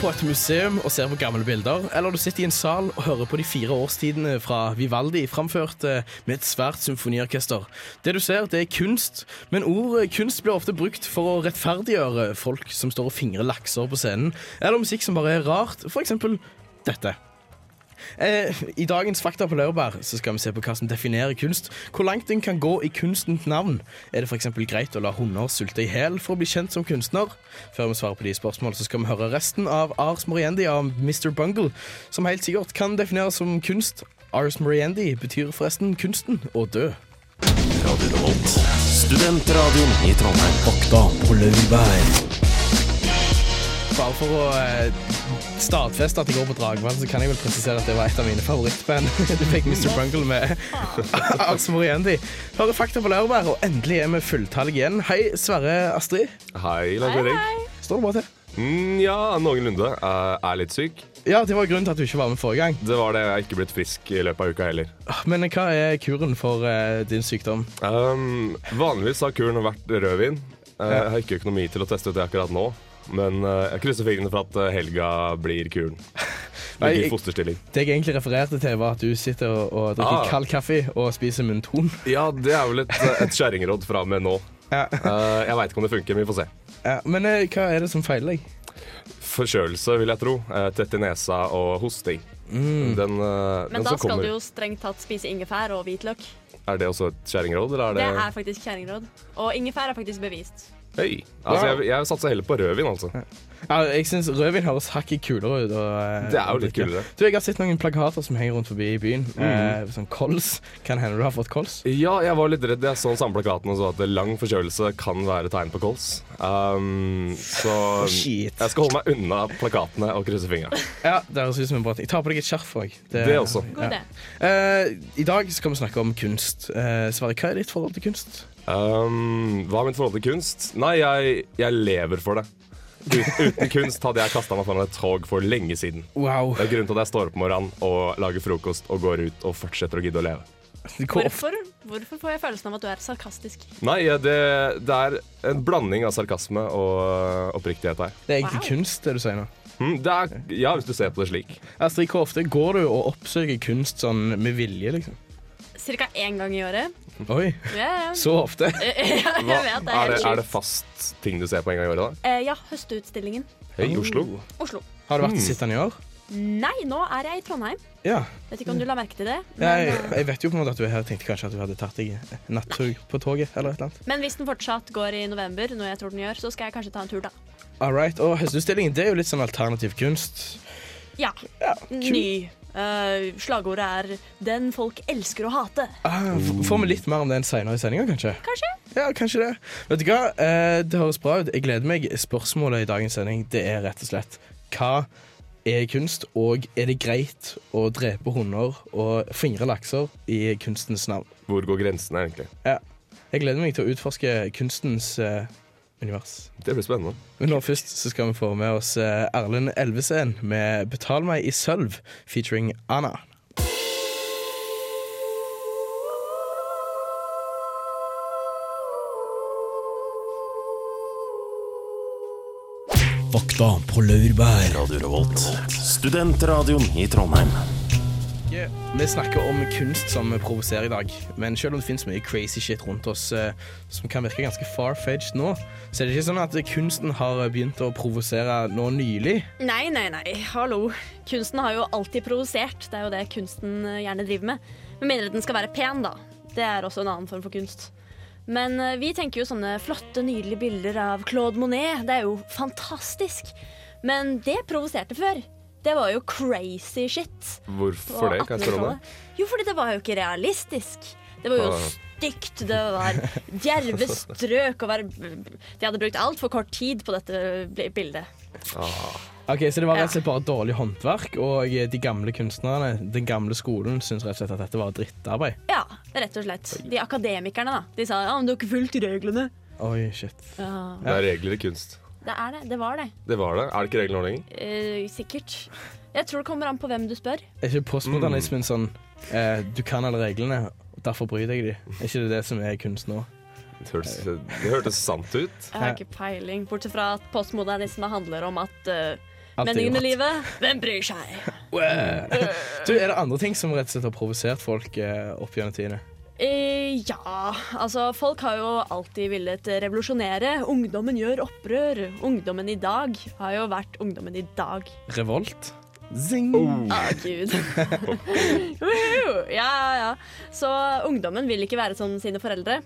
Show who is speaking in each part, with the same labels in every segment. Speaker 1: på et museum og ser på gamle bilder, eller du sitter i en sal og hører på de fire årstidene fra Vivaldi framført eh, med et svært symfoniorkester. Det du ser, det er kunst, men ordet kunst blir ofte brukt for å rettferdiggjøre folk som står og fingrer lakser på scenen, eller musikk som bare er rart, for eksempel dette. Eh, I dagens Fakta på laurbær så skal vi se på hva som definerer kunst. Hvor langt en kan gå i kunstens navn. Er det f.eks. greit å la hunder sulte i hjel for å bli kjent som kunstner? Før vi svarer på de spørsmål, så skal vi høre resten av Ars Moriendi av Mr. Bungle, som helt sikkert kan defineres som kunst. Ars Moriendi betyr forresten kunsten å dø.
Speaker 2: Radio Revolt. Studentradioen i Trondheim.
Speaker 1: Bare for å eh, stadfeste at jeg går på Dragvann, så kan jeg vel presisere at det var et av mine favorittband. Du fikk Mr. Bungle med Ars Moriendi. Hører fakta på laurbær, og endelig er vi fulltallige igjen. Hei, Sverre Astrid.
Speaker 2: Hei, Lars Erik.
Speaker 1: Står det bra til?
Speaker 2: Mm, ja, noenlunde. Jeg er litt syk.
Speaker 1: Ja, det var grunnen til at du ikke var med forrige gang.
Speaker 2: Det var det. Jeg er ikke blitt frisk i løpet av uka heller.
Speaker 1: Men eh, hva er kuren for eh, din sykdom?
Speaker 2: Um, vanligvis har kuren vært rødvin. Eh, Jeg har ikke økonomi til å teste ut det akkurat nå. Men eh, jeg krysser fingrene for at eh, helga blir kuren.
Speaker 1: Nei,
Speaker 2: Ligger
Speaker 1: jeg-
Speaker 2: i fosterstilling.
Speaker 1: Det jeg egentlig refererte til, var at du sitter og, og drikker
Speaker 2: Ah.
Speaker 1: kald kaffe og spiser munnton.
Speaker 2: Ja, det er vel et, et kjerringråd fra og med nå.
Speaker 1: Ja.
Speaker 2: Eh, jeg veit ikke om det funker, men vi får se.
Speaker 1: Ja, men eh, hva er det som feiler deg?
Speaker 2: Forkjølelse, vil jeg tro. Eh, tett i nesa og hosting. Den, eh, den
Speaker 3: Men da
Speaker 2: som
Speaker 3: skal
Speaker 2: kommer,
Speaker 3: du jo strengt tatt spise ingefær og hvitløk.
Speaker 2: er det også et kjerringråd? Eller er
Speaker 3: Det
Speaker 2: det,
Speaker 3: er faktisk kjerringråd. Og ingefær er faktisk bevist.
Speaker 2: Hei. Altså, jeg, jeg satser heller på rødvin, altså.
Speaker 1: Ja, jeg synes Rødvin høres hakket kulere ut. Og, eh,
Speaker 2: Det er jo litt
Speaker 1: drikke.
Speaker 2: kulere. Mm.
Speaker 1: Du, Jeg har sett noen plakater som henger rundt forbi i byen. Eh, sånn kols. Kan hende du har fått kols.
Speaker 2: Ja, jeg var litt redd. Jeg så den samme plakaten og så at lang forkjølelse kan være tegn på kols. Um, så
Speaker 1: Shit.
Speaker 2: jeg skal holde meg unna plakatene og krysse fingra.
Speaker 1: Ja, det høres ut som en bra ting. Ta på deg et skjerf òg.
Speaker 2: Det også.
Speaker 3: God idé.
Speaker 1: Eh, I dag skal vi snakke om kunst. Eh, Sverre, hva er ditt forhold til kunst?
Speaker 2: Um, hva er mitt forhold til kunst? Nei, jeg, jeg lever for det. Ut- Uten kunst hadde jeg kasta meg foran et tog for lenge siden.
Speaker 1: Wow.
Speaker 2: Det er grunnen til at jeg står opp om morgenen og lager frokost og går ut og fortsetter å gidde å leve.
Speaker 1: Hvor ofte
Speaker 3: Hvorfor, hvorfor får jeg følelsen av at du er sarkastisk?
Speaker 2: Nei, eh, det, det er en blanding av sarkasme og eh, oppriktighet her.
Speaker 1: Det er egentlig
Speaker 3: Wow.
Speaker 1: kunst, det du sier nå.
Speaker 2: Mm, det er, ja, hvis du ser på det slik.
Speaker 1: Astrid, hvor ofte går du og oppsøker kunst sånn med vilje, liksom?
Speaker 3: Cirka én gang i året.
Speaker 1: Oi,
Speaker 3: Ja, ja.
Speaker 1: så ofte?
Speaker 3: Ja, jeg
Speaker 2: Hva,
Speaker 3: vet det.
Speaker 2: er, det,
Speaker 3: helt
Speaker 2: er det
Speaker 3: sjukt.
Speaker 2: fast ting du ser på en gang i året, da?
Speaker 3: Eh, Ja, Høsteutstillingen.
Speaker 2: Hei, Oslo. Mm.
Speaker 3: Oslo.
Speaker 1: Har du vært sittende i år?
Speaker 3: Nei, nå er jeg i Trondheim.
Speaker 1: Ja.
Speaker 3: Vet ikke om du la merke til det. Men, eh,
Speaker 1: Jeg, jeg vet jo på en måte at du er her. Jeg tenkte kanskje at du hadde tatt deg en nattog på toget eller et eller annet.
Speaker 3: men hvis den fortsatt går i november, noe jeg tror den gjør, så skal jeg kanskje ta en tur, da.
Speaker 1: Alright, og Høstutstillingen det er jo litt sånn alternativ kunst.
Speaker 3: Ja. Ny. Eh, slagordet er 'Den folk elsker å hate'.
Speaker 1: Ah, f- får vi litt mer om den senere i sendinga, kanskje?
Speaker 3: Kanskje?
Speaker 1: Ja, kanskje det. Vet du hva, eh, det høres bra ut. Jeg gleder meg. Spørsmålet i dagens sending det er rett og slett hva er kunst, og er det greit å drepe hunder og fingre lakser i kunstens navn?
Speaker 2: Hvor går grensene, egentlig?
Speaker 1: Ja. Jeg gleder meg til å utforske kunstens eh, univers.
Speaker 2: Det blir spennende.
Speaker 1: Men nå først så skal vi få med oss eh, Erlend Elvesen med 'Betal meg i sølv' featuring Anna.
Speaker 4: Fakta på laurbær.
Speaker 5: Radio Revolt. Studentradioen i Trondheim.
Speaker 1: Yeah. Vi snakker om kunst som provoserer i dag, men selv om det finnes mye crazy shit rundt oss eh, som kan virke ganske far-fetched nå, så er det ikke sånn at kunsten har begynt å provosere nå nylig.
Speaker 3: Nei, nei, nei. Hallo. Kunsten har jo alltid provosert. Det er jo det kunsten eh, gjerne driver med. Med mindre den skal være pen, da. Det er også en annen form for kunst. Men eh, vi tenker jo sånne flotte, nydelige bilder av Claude Monet. Det er jo fantastisk. Men det provoserte før. Det var jo crazy shit.
Speaker 2: Hvorfor det? Kan jeg spørre om det?
Speaker 3: Jo, fordi det var jo ikke realistisk. Det var jo
Speaker 2: Ah.
Speaker 3: stygt, det var djerve strøk og var De hadde brukt altfor kort tid på dette bl- bildet.
Speaker 1: Ok, Så det var rett og slett bare dårlig håndverk, og eh, de gamle kunstnerne, den gamle skolen, syns rett og slett at dette var drittarbeid.
Speaker 3: Ja, rett og slett. De akademikerne, da. De sa ja, men du har ikke fulgt reglene.
Speaker 1: Oi, shit.
Speaker 3: Ja,
Speaker 2: Det er regler i kunst.
Speaker 3: det er det. Det var det.
Speaker 2: Det var det. Er det ikke regler nå lenger?
Speaker 3: Eh, sikkert. Jeg tror det kommer an på hvem du spør.
Speaker 1: Er ikke postmodernismen sånn eh, Du kan alle reglene, og derfor bryter jeg de. Er ikke det det som er kunst nå?
Speaker 2: Det hørtes, det hørtes sant ut.
Speaker 3: Jeg har ikke peiling. Bortsett fra at postmodernisme handler om at eh, Meningen med
Speaker 1: rart.
Speaker 3: livet, hvem bryr seg?
Speaker 1: Du, Er det andre ting som rett og slett har provosert folk eh, opp gjennom tidene?
Speaker 3: Eh, ja, altså folk har jo alltid villet revolusjonere. Ungdommen gjør opprør. Ungdommen i dag har jo vært ungdommen i dag.
Speaker 1: Revolt? Zing!
Speaker 3: Å, gud. Woohoo! ja, ja, ja. Så ungdommen vil ikke være som sine foreldre.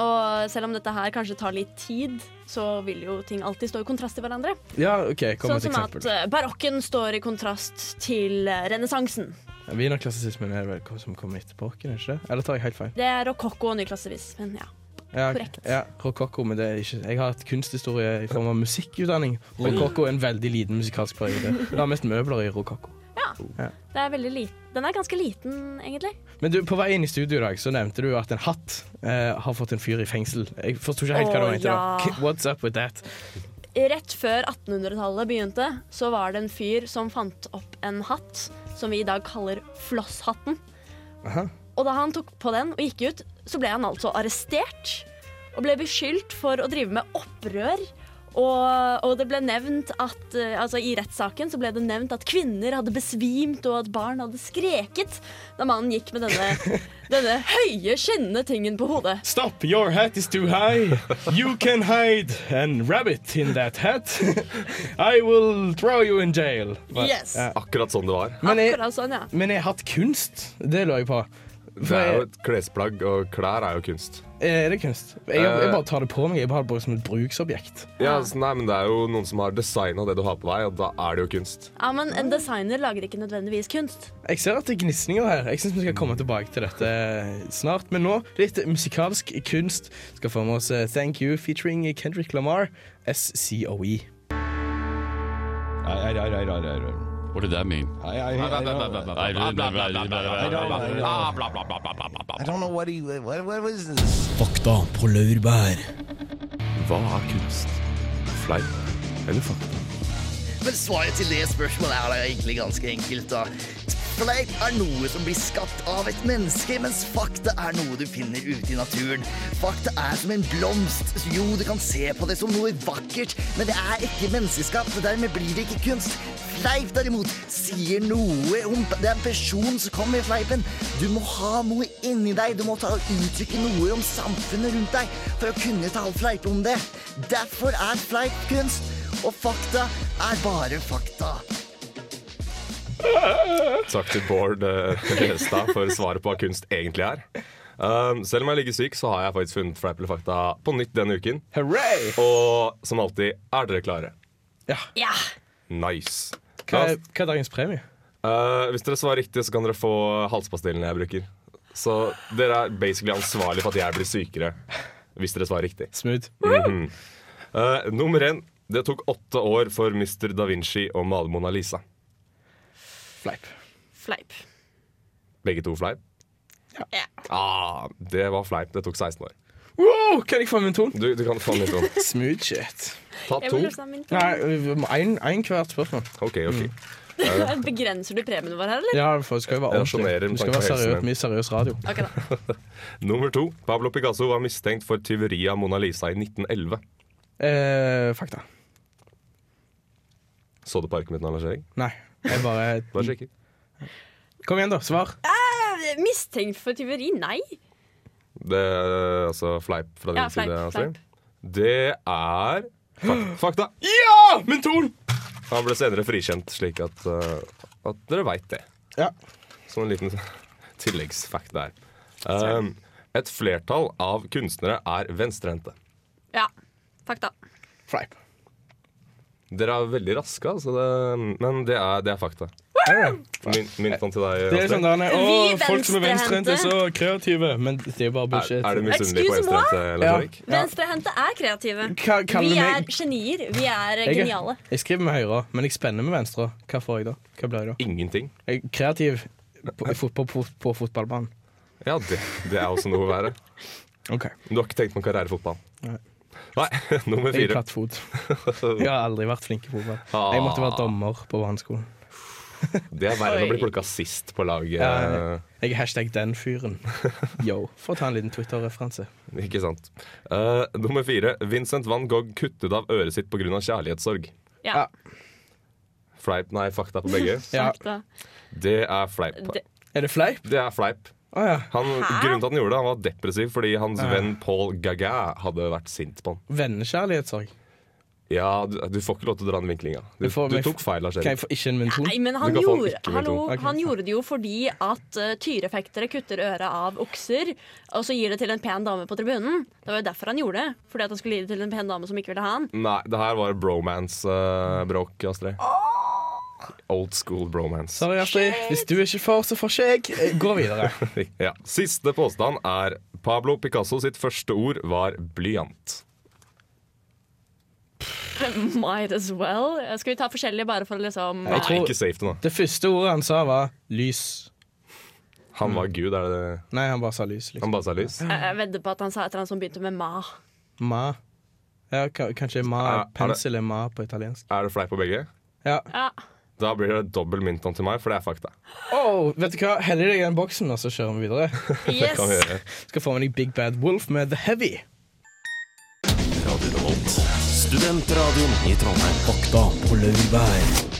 Speaker 3: Og selv om dette her kanskje tar litt tid, så vil jo ting alltid stå i kontrast til hverandre.
Speaker 1: Ja, OK, kom
Speaker 3: Sånn
Speaker 1: med et
Speaker 3: som at
Speaker 1: eksempel.
Speaker 3: eh, barokken står i kontrast til eh, renessansen.
Speaker 1: Wienerklassisismen er vel hva som kommer etterpå, ikke det? Eller tar jeg helt feil?
Speaker 3: Det er rokokko og nyklassevis, men ja.
Speaker 1: Ja,
Speaker 3: Korrekt.
Speaker 1: Ja, Rokokko, men det er ikke Jeg har hatt kunsthistorie i form av musikkutdanning. Rokokko er en veldig liten musikalsk periode. Det har mest møbler i rokokko.
Speaker 3: Det er veldig lit- Den er ganske liten, egentlig.
Speaker 1: Men du, på vei inn i studio i dag så nevnte du at en hatt eh, har fått en fyr i fengsel. Jeg forsto ikke helt hva du
Speaker 3: Å,
Speaker 1: mente.
Speaker 3: ja.
Speaker 1: da What's up with that?
Speaker 3: Rett før 1800-tallet begynte, så var det en fyr som fant opp en hatt som vi i dag kaller flosshatten.
Speaker 1: Aha.
Speaker 3: Og da han tok på den og gikk ut, så ble han altså arrestert. Og ble beskyldt for å drive med opprør. Og, og det ble nevnt at eh, altså I rettssaken så ble det nevnt at kvinner hadde besvimt og at barn hadde skreket da mannen gikk med denne, denne høye, skinnende tingen på hodet.
Speaker 1: Stop, your hat is too high. You can hide an rabbit in that hat. I will throw you in jail.
Speaker 3: Yes.
Speaker 1: Ja.
Speaker 2: Akkurat sånn det var.
Speaker 1: Men jeg,
Speaker 3: Akkurat sånn, ja.
Speaker 1: men jeg har hatt kunst. Det lå jeg på.
Speaker 2: Det er jo et klesplagg, og klær er jo kunst.
Speaker 1: Er det kunst? Jeg,
Speaker 2: Eh,
Speaker 1: jeg bare tar det på meg. Jeg bare har det bare som et bruksobjekt.
Speaker 2: Ja, altså, nei, men Det er jo noen som har designa det du har på deg, og da er det jo kunst.
Speaker 3: Ja, men en designer lager ikke nødvendigvis kunst.
Speaker 1: Jeg ser at det er gnisninger her. Jeg synes Vi skal komme tilbake til dette eh, snart. Men nå litt musikalsk kunst. Skal få med oss eh, Thank You featuring Kendrick Lamar, SCOE.
Speaker 6: What did that mean?
Speaker 4: Fakta på laurbær.
Speaker 5: Hva er kunst? Fleip eller fakta?
Speaker 7: Men svaret til det spørsmålet er da egentlig ganske enkelt, da. Fleip er noe som blir skapt av et menneske, mens fakta er noe du finner ute i naturen. Fakta er som en blomst. Jo, du kan se på det som noe vakkert, men det er ikke menneskeskapt, og dermed blir det ikke kunst. Fleip, derimot, sier noe om det er en person som kommer med fleipen. Du må ha noe inni deg, du må ta og uttrykke noe om samfunnet rundt deg for å kunne ta og fleipe om det. Derfor er fleip kunst. Og fakta er bare fakta.
Speaker 2: Takk til Bård eh, Restad for svaret på hva kunst egentlig er. Um, selv om jeg ligger syk, så har jeg faktisk funnet Fleip eller fakta på nytt denne uken.
Speaker 1: Hooray!
Speaker 2: Og som alltid, er dere klare?
Speaker 1: Ja.
Speaker 3: Ja.
Speaker 2: Nice.
Speaker 1: Hva, er- hva er dagens premie?
Speaker 2: Eh, hvis dere svarer riktig, så kan dere få halspastillene jeg bruker. Så dere er basically ansvarlig for at jeg blir sykere hvis dere svarer riktig.
Speaker 1: Smooth.
Speaker 2: Eh, nummer én. Det tok åtte år for Mr. Da Vinci å male Mona Lisa.
Speaker 1: Fleip.
Speaker 3: Fleip.
Speaker 2: Begge to fleip.
Speaker 3: Ja.
Speaker 2: Ah, det var fleip. Det tok 16 år.
Speaker 1: Wow, kan jeg få min ton?
Speaker 2: Du, du kan få litt sånn.
Speaker 1: Smooth shit.
Speaker 2: Ta
Speaker 3: Jeg
Speaker 2: to.
Speaker 3: vil løsne min tur.
Speaker 1: Nei, én hvert spørsmål.
Speaker 2: OK, OK.
Speaker 3: Begrenser du premien vår her, eller?
Speaker 1: Ja, for det skal jo være
Speaker 2: Jeg rasjonerer
Speaker 1: ordentlig.
Speaker 2: med
Speaker 1: Vi skal
Speaker 2: tanke
Speaker 1: være
Speaker 2: på helsen
Speaker 1: seriøs,
Speaker 2: min.
Speaker 1: mye seriøs radio.
Speaker 3: Ok da.
Speaker 2: Nummer to. Pablo Picasso var mistenkt for tyveri av Mona Lisa i 1911.
Speaker 1: Eh, fakta.
Speaker 2: Så du på arket mitt nå, Lars Erik?
Speaker 1: Nei. Jeg bare
Speaker 3: Mm.
Speaker 2: Bare sjekker.
Speaker 1: Kom igjen, da. Svar.
Speaker 3: Eh, Mistenkt for tyveri? Nei.
Speaker 2: Det er altså fleip fra din
Speaker 3: Ja, fleip,
Speaker 2: side,
Speaker 3: fleip.
Speaker 2: Astrid. Det er fak- fakta.
Speaker 1: Ja! Min ton!
Speaker 2: Han ble senere frikjent, slik at, eh, at dere veit det.
Speaker 1: Ja.
Speaker 2: Som en liten tilleggsfakt der. Um, et flertall av kunstnere er venstrehendte.
Speaker 3: Ja. Fakta.
Speaker 1: Fleip.
Speaker 2: Dere er veldig raske, altså. Det, men det er, det er fakta. Min, min sånn til deg,
Speaker 1: Det er sånn
Speaker 2: Astrid.
Speaker 1: der,
Speaker 3: Vi
Speaker 1: å, folk som er venstrehendte,
Speaker 3: venstrehendte.
Speaker 1: er så kreative. Men det er jo bare
Speaker 2: Er,
Speaker 1: bullshit.
Speaker 2: er du misunnelig på
Speaker 3: Excuse me, what?
Speaker 2: venstrehendte,
Speaker 1: Ja.
Speaker 2: Lars Erik?
Speaker 1: Ja.
Speaker 3: Venstrehendte er kreative.
Speaker 1: Ka- kaller
Speaker 3: Vi
Speaker 1: du
Speaker 3: er
Speaker 1: meg-
Speaker 3: genier. Vi er eh,
Speaker 1: Jeg-
Speaker 3: geniale.
Speaker 1: Jeg skriver med høyre, men jeg spenner med venstre. Hva får jeg da? Hva blir jeg da?
Speaker 2: Ingenting.
Speaker 1: Jeg er kreativ på, fot- på, på, på fotballbanen.
Speaker 2: Ja, det, det er også noe å være.
Speaker 1: OK.
Speaker 2: Men Du har ikke tenkt på en karriere i fotball?
Speaker 1: Nei.
Speaker 2: Nei, nummer
Speaker 1: Jeg er
Speaker 2: fire. Ah.
Speaker 1: plattfot. Jeg har aldri vært flink i fotball. Jeg måtte være dommer på barneskolen.
Speaker 2: Det er verre enn å bli
Speaker 3: Oi.
Speaker 2: plukka sist på laget.
Speaker 1: Ja, Jeg er hashtag den fyren. Yo. For å ta en liten Twitter-referanse.
Speaker 2: Ikke sant. Eh, nummer fire. Vincent van Gogh kuttet av øret sitt pga. kjærlighetssorg.
Speaker 3: Ja.
Speaker 2: Fleip, nei, fakta på begge.
Speaker 1: Ja.
Speaker 3: Fakta.
Speaker 2: Det er fleip.
Speaker 3: Det-
Speaker 1: Er det fleip?
Speaker 2: Det er fleip.
Speaker 1: Å ja.
Speaker 2: Han, grunnen til at han gjorde det, han var depressiv fordi hans venn Paul Gaga hadde vært sint på han.
Speaker 1: Vennekjærlighetssorg.
Speaker 2: Ja, du, du får ikke lov til å dra den vinklinga. Du,
Speaker 1: Du får-
Speaker 2: du
Speaker 1: men-
Speaker 2: tok feil av
Speaker 1: Kan jeg
Speaker 2: Sherry.
Speaker 1: få ikke en munnton?
Speaker 3: Nei, men han
Speaker 2: Du kan få den
Speaker 3: gjorde,
Speaker 2: ikke med
Speaker 3: hallo,
Speaker 2: to.
Speaker 1: Ok.
Speaker 3: han gjorde det jo fordi at eh, tyrefektere kutter øret av okser, og så gir det til en pen dame på tribunen. Det var jo derfor han gjorde det. Fordi at han skulle gi det til en pen dame som ikke ville ha han.
Speaker 2: Nei, det her var bromance-bråk, Astrid. Old school bromance.
Speaker 1: Sorry, Astrid. Hvis du ikke får, så får ikke jeg. Gå videre.
Speaker 2: Ja. Siste påstand er Pablo Picasso sitt første ord var blyant.
Speaker 3: Might as well. Eh, Skal vi ta forskjellige bare for å liksom
Speaker 2: Nei,
Speaker 1: Mhm. Jeg tror-
Speaker 2: ikke safe nå.
Speaker 1: Det første ordet han sa, var lys.
Speaker 2: Han
Speaker 1: Mm.
Speaker 2: var gud, er det det?
Speaker 1: Nei, han bare sa lys. Liksom.
Speaker 2: Han bare sa lys.
Speaker 3: Jeg jeg vedder eh, på at han sa et eller annet som begynte med ma.
Speaker 1: Ma. Ja, ka- kanskje
Speaker 2: Er-
Speaker 1: ma
Speaker 2: er det-
Speaker 1: Pensel er ma på italiensk.
Speaker 2: Er det fleip på begge?
Speaker 1: Ja.
Speaker 3: Ja.
Speaker 2: Da blir det dobbel mynton til meg, for det er fakta.
Speaker 1: Oh, vet du hva? Hell i deg i den boksen, og så kjører vi videre.
Speaker 2: Det
Speaker 3: Yes.
Speaker 2: kan vi gjøre.
Speaker 1: Skal få med deg Big Bad Wolf med The Heavy.
Speaker 5: Radio Revolt. Studentradioen i Trondheim.
Speaker 4: Fakta på laurbær.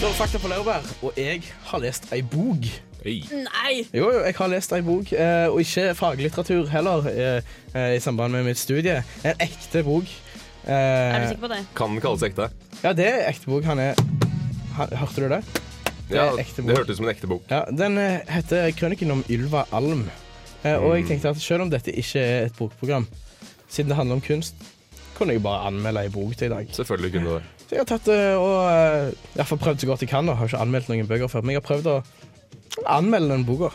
Speaker 1: Da er det Fakta på laurbær, og jeg har lest ei bok.
Speaker 3: Nei!
Speaker 1: Jo, jo, jeg har lest ei bok, eh, og ikke faglitteratur heller, eh, eh, i samband med mitt studie. En ekte bok. Eh,
Speaker 3: Er du sikker på det?
Speaker 2: Kan den kalles ekte?
Speaker 1: Ja, det er ekte bok. Han er han, Hørte du det? er
Speaker 2: Ja,
Speaker 1: ekte
Speaker 2: det
Speaker 1: bok.
Speaker 2: hørtes ut som en ekte bok.
Speaker 1: Ja, Den eh, heter 'Krøniken om Ylva Alm'. Eh, Og jeg tenkte at selv om dette ikke er et bokprogram, siden det handler om kunst, kunne jeg bare anmelde ei bok til i dag.
Speaker 2: Selvfølgelig kunne du det.
Speaker 1: Så jeg har tatt eh, og eh, i hvert fall prøvd så godt jeg kan. da. Har ikke anmeldt noen bøker før, men jeg har prøvd å anmelde den boka.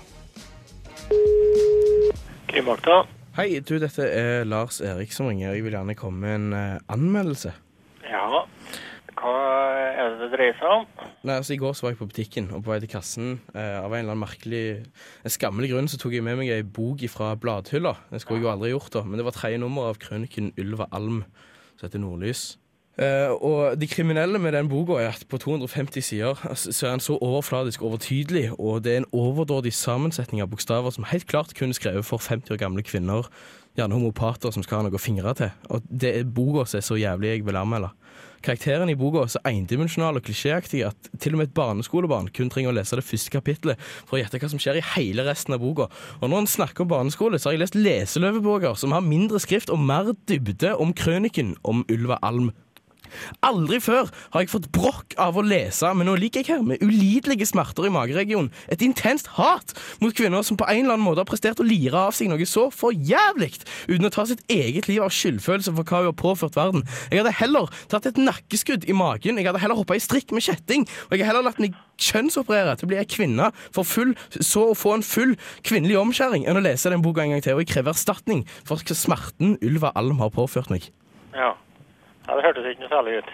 Speaker 8: Krimakta.
Speaker 1: Hei, du, dette er Lars Erik som ringer. Jeg vil gjerne komme med en eh, anmeldelse.
Speaker 8: Ja. Hva er det det dreier seg om?
Speaker 1: Nei, altså I går så var jeg på butikken og på vei til kassen. Eh, av en eller annen merkelig en skammelig grunn så tok jeg med meg ei bok fra bladhylla. Det skulle jeg jo aldri gjort, da, men det var tredje nummer av krøniken Ylva Alm, som heter Nordlys. Eh, og det kriminelle med den boka er at på 250 sider altså, så er den så overfladisk overtydelig, og det er en overdådig sammensetning av bokstaver som helt klart kun er skrevet for 50 år gamle kvinner, gjerne homopater som skal ha noe å fingre til. Og det er boka som er så jævlig jeg vil anmelde. Karakteren i boka er så endimensjonal og klisjéaktig at til og med et barneskolebarn kun trenger å lese det første kapittelet for å gjette hva som skjer i hele resten av boka. Og når en snakker om barneskole, så har jeg lest leseløvebøker som har mindre skrift og mer dybde om krøniken om Ulva Alm. Aldri før har jeg fått brokk av å lese, men nå ligger jeg her med ulidelige smerter i mageregionen. Et intenst hat mot kvinner som på en eller annen måte har prestert å lire av seg noe så forjævlig, uten å ta sitt eget liv av skyldfølelse for hva hun har påført verden. Jeg hadde heller tatt et nakkeskudd i magen, jeg hadde heller hoppa i strikk med kjetting, og jeg har heller latt meg kjønnsoperere til å bli ei kvinne, for full, så å få en full kvinnelig omskjæring, enn å lese den boka en gang til, og jeg krever erstatning for smerten Ulva Alm har påført meg.
Speaker 8: Ja. ja det hørtes ikke noe særlig ut.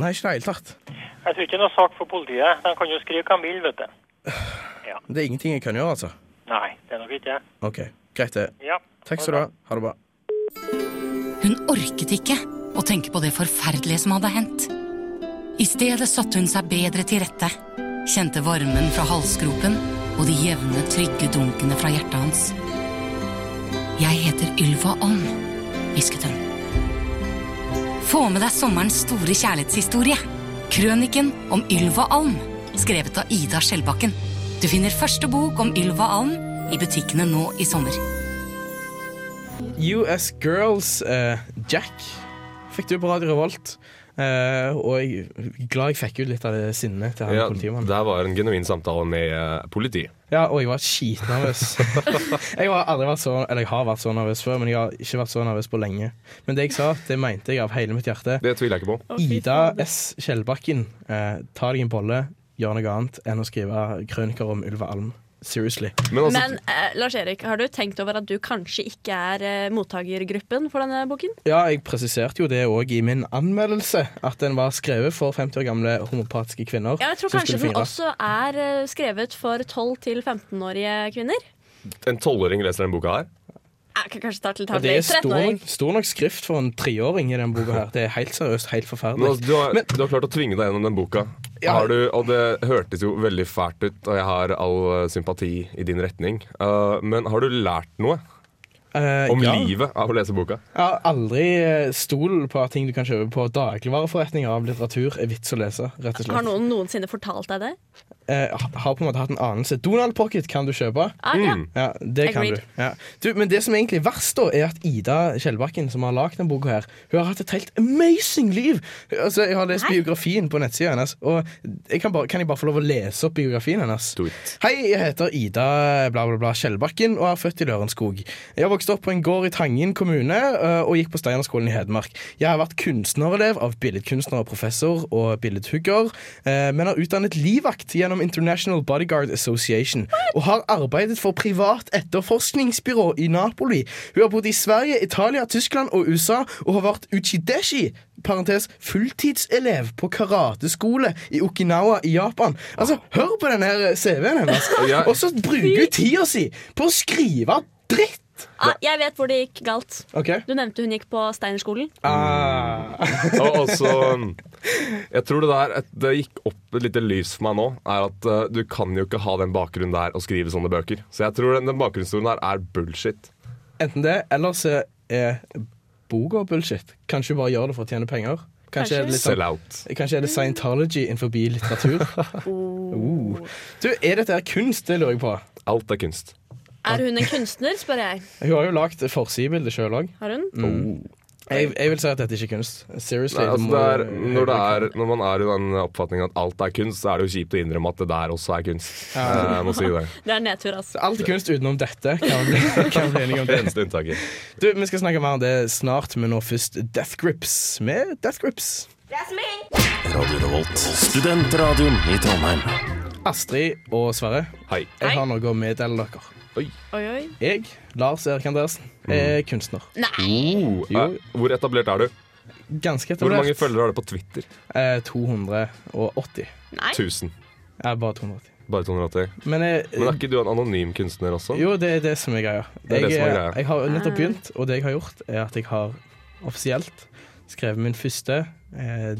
Speaker 1: Nei, ikke i det hele tatt.
Speaker 8: Jeg tror ikke det er noe sak for politiet. De kan jo skrive hva de vil, vet du.
Speaker 1: Det er ingenting jeg kan gjøre, altså.
Speaker 8: Nei, det er nok ikke det.
Speaker 1: OK, greit det.
Speaker 8: Ja.
Speaker 1: Takk skal du ha. Ha det bra.
Speaker 9: Hun orket ikke å tenke på det forferdelige som hadde hendt. I stedet satte hun seg bedre til rette, kjente varmen fra halsgropen og de jevne, trygge dunkene fra hjertet hans. Jeg heter Ylva Ånd, hvisket hun. Få med deg sommerens store kjærlighetshistorie. Krøniken om Ylva Alm, skrevet av Ida Skjellbakken. Du finner første bok om Ylva Alm i butikkene nå i sommer.
Speaker 1: US Girls eh, Jack fikk du på Radio Revolt. Eh, og jeg er glad jeg fikk ut litt av det sinnet til han
Speaker 2: Ja,
Speaker 1: politimannen.
Speaker 2: der var en genuin samtale med eh, politiet.
Speaker 1: Ja, og jeg var skitnervøs. jeg har aldri vært så Eller jeg har vært så nervøs før, men jeg har ikke vært så nervøs på lenge. Men det jeg sa, det mente jeg av hele mitt hjerte.
Speaker 2: Det tviler jeg ikke på.
Speaker 1: Ida S. Skjellbakken, eh, ta deg en bolle, gjør noe annet enn å skrive krøniker om Ulva Alm. Seriously.
Speaker 2: Men altså,
Speaker 3: Men eh, Lars Erik, har du tenkt over at du kanskje ikke er eh, mottakergruppen for denne boken?
Speaker 1: Ja, jeg presiserte jo det òg i min anmeldelse. At den var skrevet for 50 år gamle homopatiske kvinner.
Speaker 3: Ja, jeg tror
Speaker 1: som
Speaker 3: kanskje
Speaker 1: skulle
Speaker 3: den
Speaker 1: fingre.
Speaker 3: også er eh, skrevet for 12-15-årige kvinner.
Speaker 2: en tolvåring leser den boka her.
Speaker 3: Jeg kan kanskje starte litt
Speaker 1: Og
Speaker 3: hardt.
Speaker 1: det er
Speaker 3: med
Speaker 1: stor nok,
Speaker 3: 13-åring.
Speaker 1: stor nok skrift for en treåring i den boka her. Det er helt seriøst helt
Speaker 2: Men
Speaker 1: forferdelig.
Speaker 2: altså, du, har,
Speaker 1: Men-
Speaker 2: du har klart å tvinge deg gjennom den boka.
Speaker 1: Ja.
Speaker 2: Har du, og det hørtes jo veldig fælt ut, og jeg har all eh, sympati i din retning. Eh, men har du lært noe?
Speaker 1: Eh,
Speaker 2: Om
Speaker 1: ja.
Speaker 2: livet av å lese boka.
Speaker 1: Jeg har aldri eh, stol på at ting du kan kjøpe på dagligvareforretninger av litteratur, er vits å lese. rett og slett.
Speaker 3: Har noen noensinne fortalt deg det?
Speaker 1: eh, har på en måte hatt en anelse. Donald Pocket kan du kjøpe.
Speaker 3: Ah, ja.
Speaker 1: Ja, det kan
Speaker 3: Agreed.
Speaker 1: du. Ja. du. Men det som er egentlig er verst, da, er at Ida Kjellbakken, som har lagd denne boka, her, hun har hatt et helt amazing liv. Altså, Jeg har lest biografien på nettsida hennes, og jeg kan, bare, kan jeg bare få lov å lese opp biografien hennes?
Speaker 5: Do it.
Speaker 1: Hei, jeg heter Ida bla bla bla Kjellbakken og er født i Lørenskog. Jeg har vokst opp på en gård i Tangen kommune øh, og gikk på Steinerskolen i Hedmark. Jeg har vært kunstnerelev av billedkunstner og professor og billedhugger, eh, men har utdannet livvakt gjennom International Bodyguard Association og har arbeidet for privat etterforskningsbyrå i Napoli. Hun har bodd i Sverige, Italia, Tyskland og USA og har vært uchideshi parentes, fulltidselev på karateskole i Okinawa i Japan. Altså, Hør på den her CV-en hennes!
Speaker 2: Ja.
Speaker 1: Og så bruker hun tida si på å skrive dritt!
Speaker 3: Ah, jeg vet hvor det gikk galt.
Speaker 1: OK?
Speaker 3: Du nevnte hun gikk på Steinerskolen.
Speaker 1: Ah.
Speaker 2: Og også um, Jeg tror det der et, Det gikk opp et lite lys for meg nå, er at eh, du kan jo ikke ha den bakgrunnen der og skrive sånne bøker. Så jeg tror den, den bakgrunnshistorien der er bullshit.
Speaker 1: Enten det, eller så er boka bullshit. Kanskje hun bare gjør det for å tjene penger? Kanskje, er det litt sånn,
Speaker 2: Sell out.
Speaker 1: kanskje er det scientology innenfor litteratur? Oh. Du, Er dette her kunst? Det lurer jeg på.
Speaker 2: Alt er kunst.
Speaker 3: Er hun en kunstner, spør jeg.
Speaker 1: Hun har jo lagd forsidebilde sjøl òg.
Speaker 3: Har hun?
Speaker 2: Mm.
Speaker 1: Mm. Jeg, jeg vil si at dette ikke er kunst. Seriously.
Speaker 2: Nei,
Speaker 1: det
Speaker 2: altså
Speaker 1: må-
Speaker 2: det er, når, det er, når man er i den oppfatningen at alt er kunst, så er det jo kjipt å innrømme at det der også er kunst. Eh, Jeg må si det.
Speaker 3: Det er nedtur, altså.
Speaker 1: Alt er kunst utenom dette. Kan vi, kan vi bli enige om
Speaker 2: Det
Speaker 1: det?
Speaker 2: eneste unntaket.
Speaker 1: Du, Vi skal snakke mer om det snart, men nå først Death Grips med Death Grips.
Speaker 5: Radio Revolt. Studentradioen i Trondheim.
Speaker 1: Astrid og Sverre,
Speaker 2: Hei.
Speaker 1: jeg
Speaker 3: Hei.
Speaker 1: har noe å meddele dere.
Speaker 3: Oi, oi.
Speaker 1: Jeg, Lars Erik Andersen, er kunstner.
Speaker 2: Oh, eh, hvor etablert er du?
Speaker 1: Ganske
Speaker 2: Hvor
Speaker 1: etablert.
Speaker 2: mange følgere har du på Twitter?
Speaker 1: Eh, 280.
Speaker 3: Nei.
Speaker 2: 1000.
Speaker 1: Jeg er bare 280.
Speaker 2: Bare 280.
Speaker 1: Men eh, jeg,
Speaker 2: Men er ikke du en anonym kunstner også?
Speaker 1: jo, det er det som er greia.
Speaker 2: Det er det som er greia.
Speaker 1: jeg har nettopp begynt, og det jeg har gjort, er at jeg har offisielt skrevet min første eh,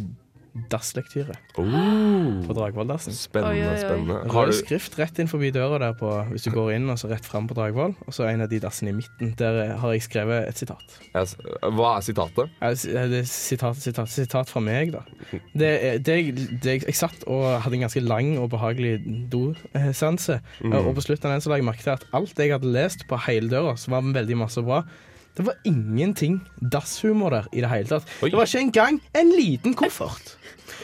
Speaker 1: dasslektyre
Speaker 2: Oh,
Speaker 1: på Dragvolldassen.
Speaker 2: spennende,
Speaker 3: Oi, oi, oi.
Speaker 2: spennende. Har
Speaker 1: Rød
Speaker 2: du,
Speaker 1: skrift rett inn forbi døra der på, hvis du går inn og så rett fram på Dragvoll. Og så en av de dassene i midten. Der eh, har jeg skrevet et sitat.
Speaker 2: jeg s- hva er sitatet?
Speaker 1: Eh, si- eh, Det er sitat, sitat, sitat fra meg, da. Det, er- det, jeg- det, jeg- jeg satt og hadde en ganske lang og behagelig dosanse. Og på slutten av den så la jeg merke til at alt jeg hadde lest på hele døra, som var veldig masse bra, det var ingenting dasshumor der i det hele tatt.
Speaker 2: Oi.
Speaker 1: Det var ikke engang en liten koffert.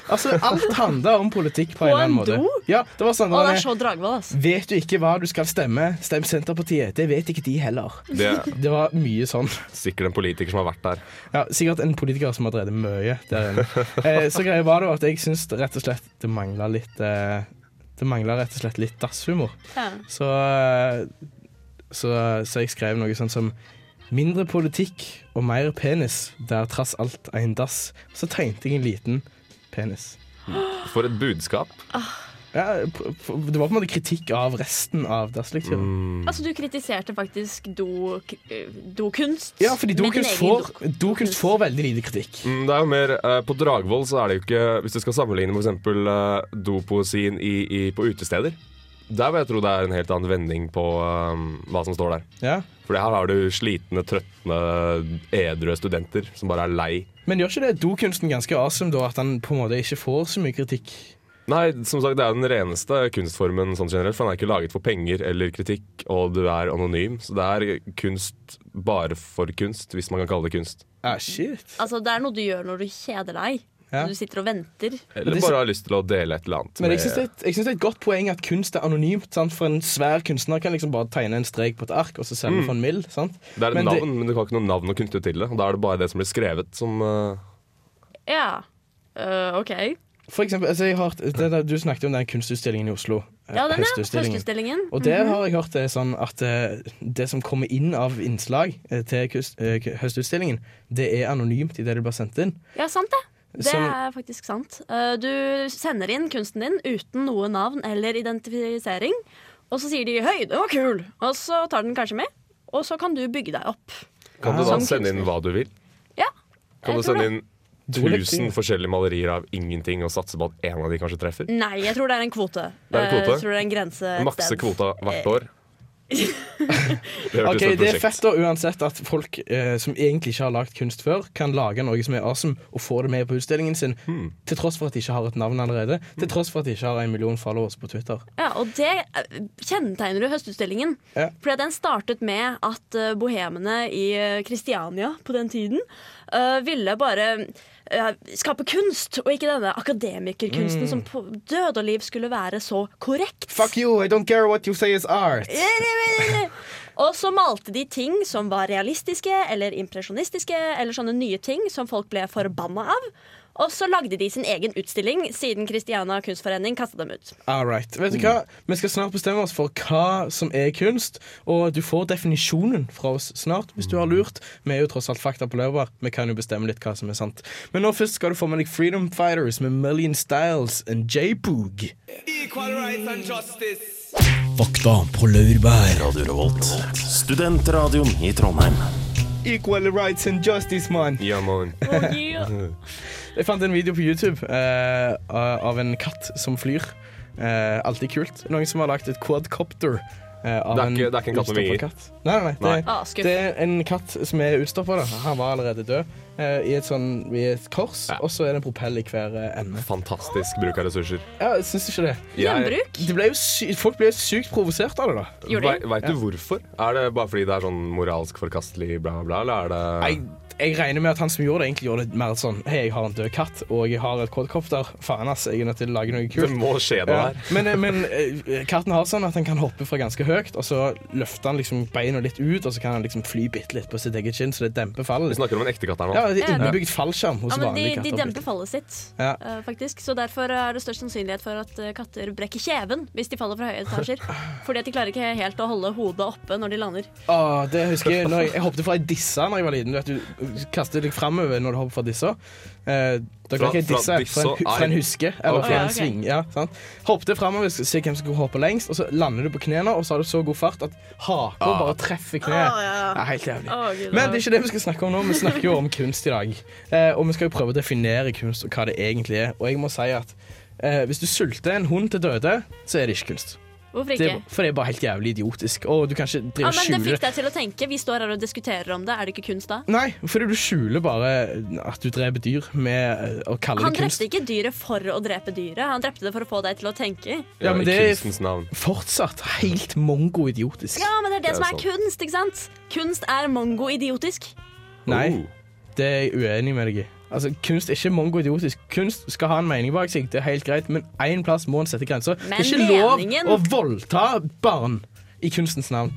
Speaker 1: Altså, alt handla om politikk på en
Speaker 3: På
Speaker 1: eller annen
Speaker 3: en
Speaker 1: måte.
Speaker 3: do?
Speaker 1: Ja, det var sånn
Speaker 3: Å, det
Speaker 1: der-
Speaker 3: er så Dragvoll, altså.
Speaker 1: Vet du ikke hva du skal stemme? Stem Senterpartiet. Det vet ikke de heller.
Speaker 2: Det er
Speaker 1: Det var mye sånn.
Speaker 2: sikkert en politiker som har vært der.
Speaker 1: Ja, Sikkert en politiker som har drevet mye der inne. Eh, så greia var da at jeg syns rett og slett det mangla litt eh, Det mangla rett og slett litt dasshumor.
Speaker 3: Ja.
Speaker 1: Så, eh, så, så jeg skrev noe sånn som Mindre politikk og mer penis, det er trass alt en dass. Så tegnte jeg en liten penis.
Speaker 2: For et budskap.
Speaker 1: Ja, p- p- det var på en måte kritikk av resten av dasslekturen.
Speaker 3: Altså, du kritiserte faktisk do, eh, dokunst.
Speaker 1: Ja, fordi
Speaker 3: Med din
Speaker 1: dokunst
Speaker 3: egen
Speaker 1: får,
Speaker 3: do-
Speaker 1: dokunst får veldig lite kritikk.
Speaker 2: Mm, Det er jo mer, eh, På Dragvoll så er det jo ikke Hvis du skal sammenligne f.eks. Eh, dopoesien i, i, på utesteder Der vil jeg tro det er en helt annen vending på eh, hva som står der.
Speaker 1: Ja.
Speaker 2: For her har du slitne, trøttende, edre studenter som bare er lei.
Speaker 1: Men gjør ikke det dokunsten ganske awesome, da, at han på en måte ikke får så mye kritikk?
Speaker 2: Nei, som sagt, det er den reneste kunstformen sånn generelt, for den er ikke laget for penger eller kritikk, og du er anonym. Så det er kunst bare for kunst, hvis man kan kalle det kunst.
Speaker 1: Ah, shit.
Speaker 3: Altså, det er noe du gjør når du kjeder deg.
Speaker 1: Ja.
Speaker 3: Du sitter og venter.
Speaker 1: Men
Speaker 2: Eller
Speaker 1: det-
Speaker 2: bare har lyst til å dele et eller annet.
Speaker 1: Men
Speaker 2: med-
Speaker 1: jeg syns det, er et- jeg synes det er et godt poeng at kunst er anonymt. Sant? For en svær kunstner kan liksom bare tegne en strek på et ark og så sende for en mild. Sant?
Speaker 2: Mm. det er et
Speaker 1: men det-
Speaker 2: navn, men du har ikke noe navn å knytte til det. Og da er det bare det som blir skrevet, som eh,
Speaker 3: Ja. Øh, OK.
Speaker 1: For eksempel, altså, jeg har, hørt- det, der- du snakket om den kunstutstillingen i Oslo. eh,
Speaker 3: Ja, Mhm. den er
Speaker 1: høstutstillingen.
Speaker 3: førsteutstillingen.
Speaker 1: Og der har jeg hørt det sånn at eh, det som kommer inn av innslag eh, til kus- eh, høstutstillingen, det er anonymt i det det blir sendt inn.
Speaker 3: Ja, sant det. Det
Speaker 1: Som-
Speaker 3: er faktisk sant. Eh, Du sender inn kunsten din uten noe navn eller identifisering. Og så sier de 'høy, den var kul', og så tar den kanskje med. Og så kan du bygge deg opp.
Speaker 2: Kan
Speaker 1: Ah,
Speaker 2: du da
Speaker 3: Som
Speaker 2: sende inn
Speaker 3: kunstner.
Speaker 2: hva du vil?
Speaker 3: Ja,
Speaker 2: Kan
Speaker 3: jeg
Speaker 2: du
Speaker 3: tror
Speaker 2: sende inn
Speaker 1: vil
Speaker 2: tusen
Speaker 1: si-
Speaker 2: forskjellige malerier av ingenting og satse på at en av de kanskje treffer?
Speaker 3: Nei, jeg tror det er en kvote.
Speaker 2: Det er en kvote?
Speaker 3: Eh, Jeg tror det er en grense et
Speaker 2: Makse
Speaker 3: sted.
Speaker 2: kvota hvert år. Det hørtes
Speaker 1: Ok,
Speaker 2: som et
Speaker 1: Det er
Speaker 2: prosjekt.
Speaker 1: fett da, uansett at folk eh, som egentlig ikke har lagd kunst før, kan lage noe som er awesome, og få det med på utstillingen sin.
Speaker 2: Hmm.
Speaker 1: Til tross for at de ikke har et navn allerede. Til tross for at de ikke har en million followers på Twitter.
Speaker 3: Ja, og det eh, kjennetegner jo høstutstillingen.
Speaker 1: Ja.
Speaker 3: Fordi at den startet med at eh, bohemene i eh, Kristiania på den tiden eh, ville bare eh, skape kunst, og ikke denne akademikerkunsten som på død og liv skulle være så
Speaker 1: Mm.
Speaker 3: korrekt. Eh,
Speaker 1: Fuck you, I don't care what you say is art.
Speaker 3: Og så malte de ting som var realistiske eller impresjonistiske, eller sånne nye ting som folk ble forbanna av. Og så lagde de sin egen utstilling, siden Kristiania kunstforening kasta dem ut.
Speaker 1: All right. Vet du hva?
Speaker 2: Hmm.
Speaker 1: Vi skal snart bestemme oss for hva som er kunst, og du får definisjonen fra oss snart hvis du
Speaker 2: Hmm.
Speaker 1: har lurt. Vi er jo tross alt fakta på løpet. Vi kan jo bestemme litt hva som er sant. Men nå først skal du få med deg Freedom Fighters med Million Styles and J-Boog.
Speaker 4: Fakta på laurbær.
Speaker 5: Studentradioen i Trondheim.
Speaker 1: Equal rights and justice, man.
Speaker 2: Ja, man.
Speaker 1: Jeg fant en video på YouTube eh, av en katt som flyr. Eh, alltid kult. Noen som har lagt et quadcopter. eh, av
Speaker 2: Det er ikke- det er ikke en katt
Speaker 1: utstoppet
Speaker 2: med vinger.
Speaker 1: katt. Nei, nei, nei. Det,
Speaker 3: Nei. Ah, skuff.
Speaker 1: det er en katt som er utstoppa. Han var allerede død. eh, I et sånn I et kors,
Speaker 2: Ja.
Speaker 1: og så er det en propell i hver eh, ende.
Speaker 2: Fantastisk bruk av ressurser.
Speaker 1: Ja, jeg syns ikke det.
Speaker 2: Jeg-
Speaker 3: Gjenbruk?
Speaker 1: det ble jo sy Folk ble jo sykt provosert av det, da.
Speaker 3: Gjorde de?
Speaker 2: Vei- Vet du hvorfor? Er det bare fordi det er sånn moralsk forkastelig bla, bla, bla? Eller er
Speaker 1: Jeg, jeg regner med at han som gjorde det, egentlig gjorde det mer sånn Hei, jeg har en død katt, og jeg har et quadcopter. Faen, ass. Jeg er nødt til å lage noe
Speaker 2: det
Speaker 1: kult.
Speaker 2: Det må skje noe
Speaker 1: Ja.
Speaker 2: her.
Speaker 1: Men, men eh, katten har sånn at han kan hoppe fra ganske høyt, og så løfter han liksom beina litt ut, og så kan han liksom fly bitte litt på sitt eget kinn, så det demper
Speaker 2: Vi
Speaker 1: fallet. litt.
Speaker 2: snakker om en ekte katt her nå.
Speaker 1: Ja, det er innebygd fallskjerm hos
Speaker 3: Ja, men de,
Speaker 1: vanlige
Speaker 3: de
Speaker 1: katter.
Speaker 3: demper fallet sitt,
Speaker 1: Ja.
Speaker 3: eh, faktisk. Så derfor er det størst sannsynlighet for at eh, katter brekker kjeven hvis de faller fra høye etasjer. Fordi at de klarer ikke helt å holde hodet oppe når de lander.
Speaker 1: Å, det husker jeg, når jeg, jeg hoppet fra ei disse da jeg var liten. Du vet, du kaster deg framover når du hopper fra disse. Eh, da
Speaker 2: Fra-
Speaker 1: kan ikke jeg
Speaker 2: fra
Speaker 1: disse
Speaker 2: disse
Speaker 1: fra en, hu-
Speaker 2: er-
Speaker 1: fra en huske eller
Speaker 2: Ok.
Speaker 1: fra
Speaker 3: Ja,
Speaker 1: en
Speaker 3: ok.
Speaker 1: sving. Ja, sant? Hoppet framover, se hvem som kunne hoppe lengst, og så lander du på knærne, og så har du så god fart at haka
Speaker 2: Ah.
Speaker 1: bare treffer kneet. Ja, helt jævlig.
Speaker 3: Ah, Å, Gud,
Speaker 1: Men
Speaker 3: da.
Speaker 1: det er ikke det vi skal snakke om nå. Vi snakker jo om kunst i dag. Eh, og vi skal jo prøve å definere kunst og hva det egentlig er. Og jeg må si at eh, hvis du sulter en hund til døde, så er det ikke kunst.
Speaker 3: Hvorfor
Speaker 1: Det,
Speaker 3: ikke?
Speaker 1: for det er bare helt jævlig idiotisk. Og du kan ikke drive
Speaker 3: Ja,
Speaker 1: og
Speaker 3: men det
Speaker 1: skjule
Speaker 3: fikk deg til å tenke. Vi står her og diskuterer om det. Er det ikke kunst da?
Speaker 1: Nei, fordi du skjuler bare at du dreper dyr med eh, å kalle
Speaker 3: Han
Speaker 1: det kunst.
Speaker 3: drepte ikke dyret for å drepe dyret. Han drepte det for å få deg til å tenke.
Speaker 1: Ja, men
Speaker 2: I
Speaker 1: det er
Speaker 2: kunstens navn.
Speaker 1: fortsatt helt mongo-idiotisk.
Speaker 3: Ja, men det er det,
Speaker 2: Det er
Speaker 3: som er kunst, ikke sant? Kunst er mongo-idiotisk.
Speaker 2: Oh.
Speaker 1: Nei, det er jeg uenig med deg i. Altså, Kunst er ikke mongo-idiotisk. Kunst skal ha en mening bak seg, det er helt greit, men én plass må en sette grenser. Det
Speaker 3: Men
Speaker 1: er ikke lov
Speaker 3: meningen-
Speaker 1: å voldta barn i kunstens navn.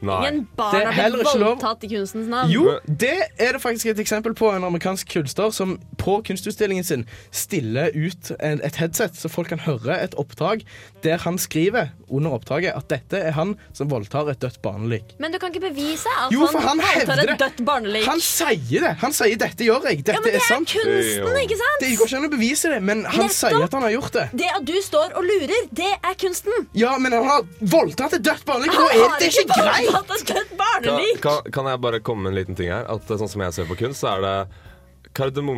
Speaker 2: Nei.
Speaker 3: Ingen
Speaker 1: Det
Speaker 3: barn
Speaker 1: er
Speaker 3: har
Speaker 1: heller
Speaker 3: blitt
Speaker 1: ikke lov.
Speaker 3: voldtatt i kunstens navn.
Speaker 1: Jo, det er det faktisk et eksempel på en amerikansk kunstner som på kunstutstillingen sin stiller ut en, et headset, så folk kan høre et oppdrag der han skriver under oppdraget at dette er han som voldtar et dødt barnelik.
Speaker 3: Men du kan ikke bevise at
Speaker 1: Jo, for han
Speaker 3: han voldtar
Speaker 1: hevder
Speaker 3: et
Speaker 1: det.
Speaker 3: dødt barnelik.
Speaker 1: Han sier det! Han sier 'dette gjør jeg', dette
Speaker 3: ja, men det
Speaker 1: er
Speaker 3: er
Speaker 1: sant.
Speaker 3: kunsten, ikke sant?
Speaker 1: Det går ikke an å bevise det, men han
Speaker 3: Nettopp.
Speaker 1: sier at han har gjort det.
Speaker 3: Det at du står og lurer, det er kunsten.
Speaker 1: Ja, men han har voldtatt et dødt barnelik,
Speaker 3: Han
Speaker 1: og er det ikke greit?
Speaker 3: voldtatt et dødt
Speaker 2: Kan,
Speaker 3: barnelik.
Speaker 2: kan, kan jeg bare komme med en liten ting her? At eh, Sånn som jeg ser på kunst, så er det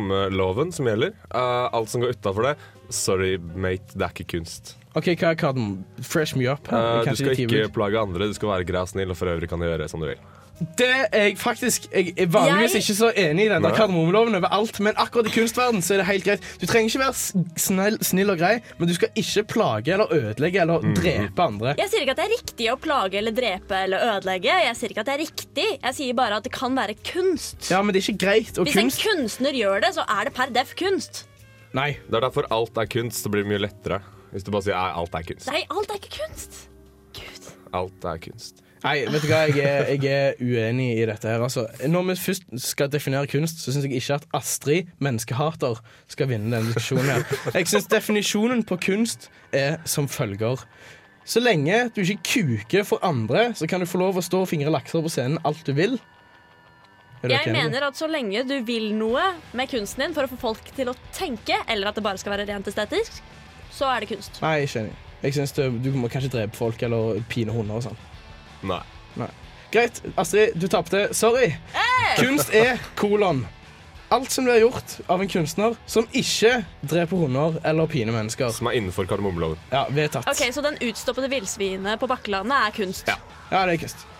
Speaker 2: kardemommeloven som gjelder. Eh, alt som går utafor det. Sorry, mate, det er ikke kunst.
Speaker 1: Ok, hva er den? Fresh me up.
Speaker 2: Eh,
Speaker 1: her.
Speaker 2: du
Speaker 1: Kanskje
Speaker 2: skal
Speaker 1: litt
Speaker 2: ikke
Speaker 1: ivrig.
Speaker 2: plage andre, du skal være grei og snill, og for øvrig kan du gjøre som du vil.
Speaker 1: Det er jeg faktisk Jeg er vanligvis
Speaker 3: Jeg-
Speaker 1: ikke så enig i den der
Speaker 2: Nei.
Speaker 1: kardemommeloven overalt, men akkurat i kunstverden så er det helt greit. Du trenger ikke være s- snill, snill og grei, men du skal ikke plage eller ødelegge eller drepe andre.
Speaker 3: Jeg sier ikke at det er riktig å plage eller drepe eller ødelegge. Jeg sier ikke at det er riktig. Jeg sier bare at det kan være kunst.
Speaker 1: Ja, men det er ikke greit. Og
Speaker 3: Hvis en
Speaker 1: kunst
Speaker 3: kunstner gjør det, så er det per def kunst.
Speaker 1: Nei.
Speaker 2: Det er derfor alt er kunst. Det blir mye lettere hvis du bare sier «Nei, alt er kunst.
Speaker 3: Nei, alt er ikke kunst. Gud.
Speaker 2: Alt er kunst.
Speaker 1: Nei, vet du hva, jeg er, jeg er uenig i dette her. Altså, når vi først skal definere kunst, så syns jeg ikke at Astrid, menneskehater, skal vinne denne diskusjonen her. Jeg syns definisjonen på kunst er som følger. Så lenge du ikke kuker for andre, så kan du få lov å stå og fingre lakser på scenen alt du vil. Er dere
Speaker 3: Jeg
Speaker 1: enige?
Speaker 3: mener at så lenge du vil noe med kunsten din for å få folk til å tenke, eller at det bare skal være rent estetisk, så er det kunst.
Speaker 1: Nei, jeg skjønner. Jeg synes det, Du må kanskje drepe folk eller pine hunder og sånn.
Speaker 2: Nei.
Speaker 1: Greit, Astrid, du tapte. Sorry. Kunst er kolon. alt som blir gjort av en kunstner som ikke dreper hunder eller piner mennesker.
Speaker 2: Som er innenfor kardemommeloven.
Speaker 1: Ja, vedtatt.
Speaker 3: Ok, Så den utstoppede villsvinet på Bakkelandet er kunst?
Speaker 1: Ja, det er kunst.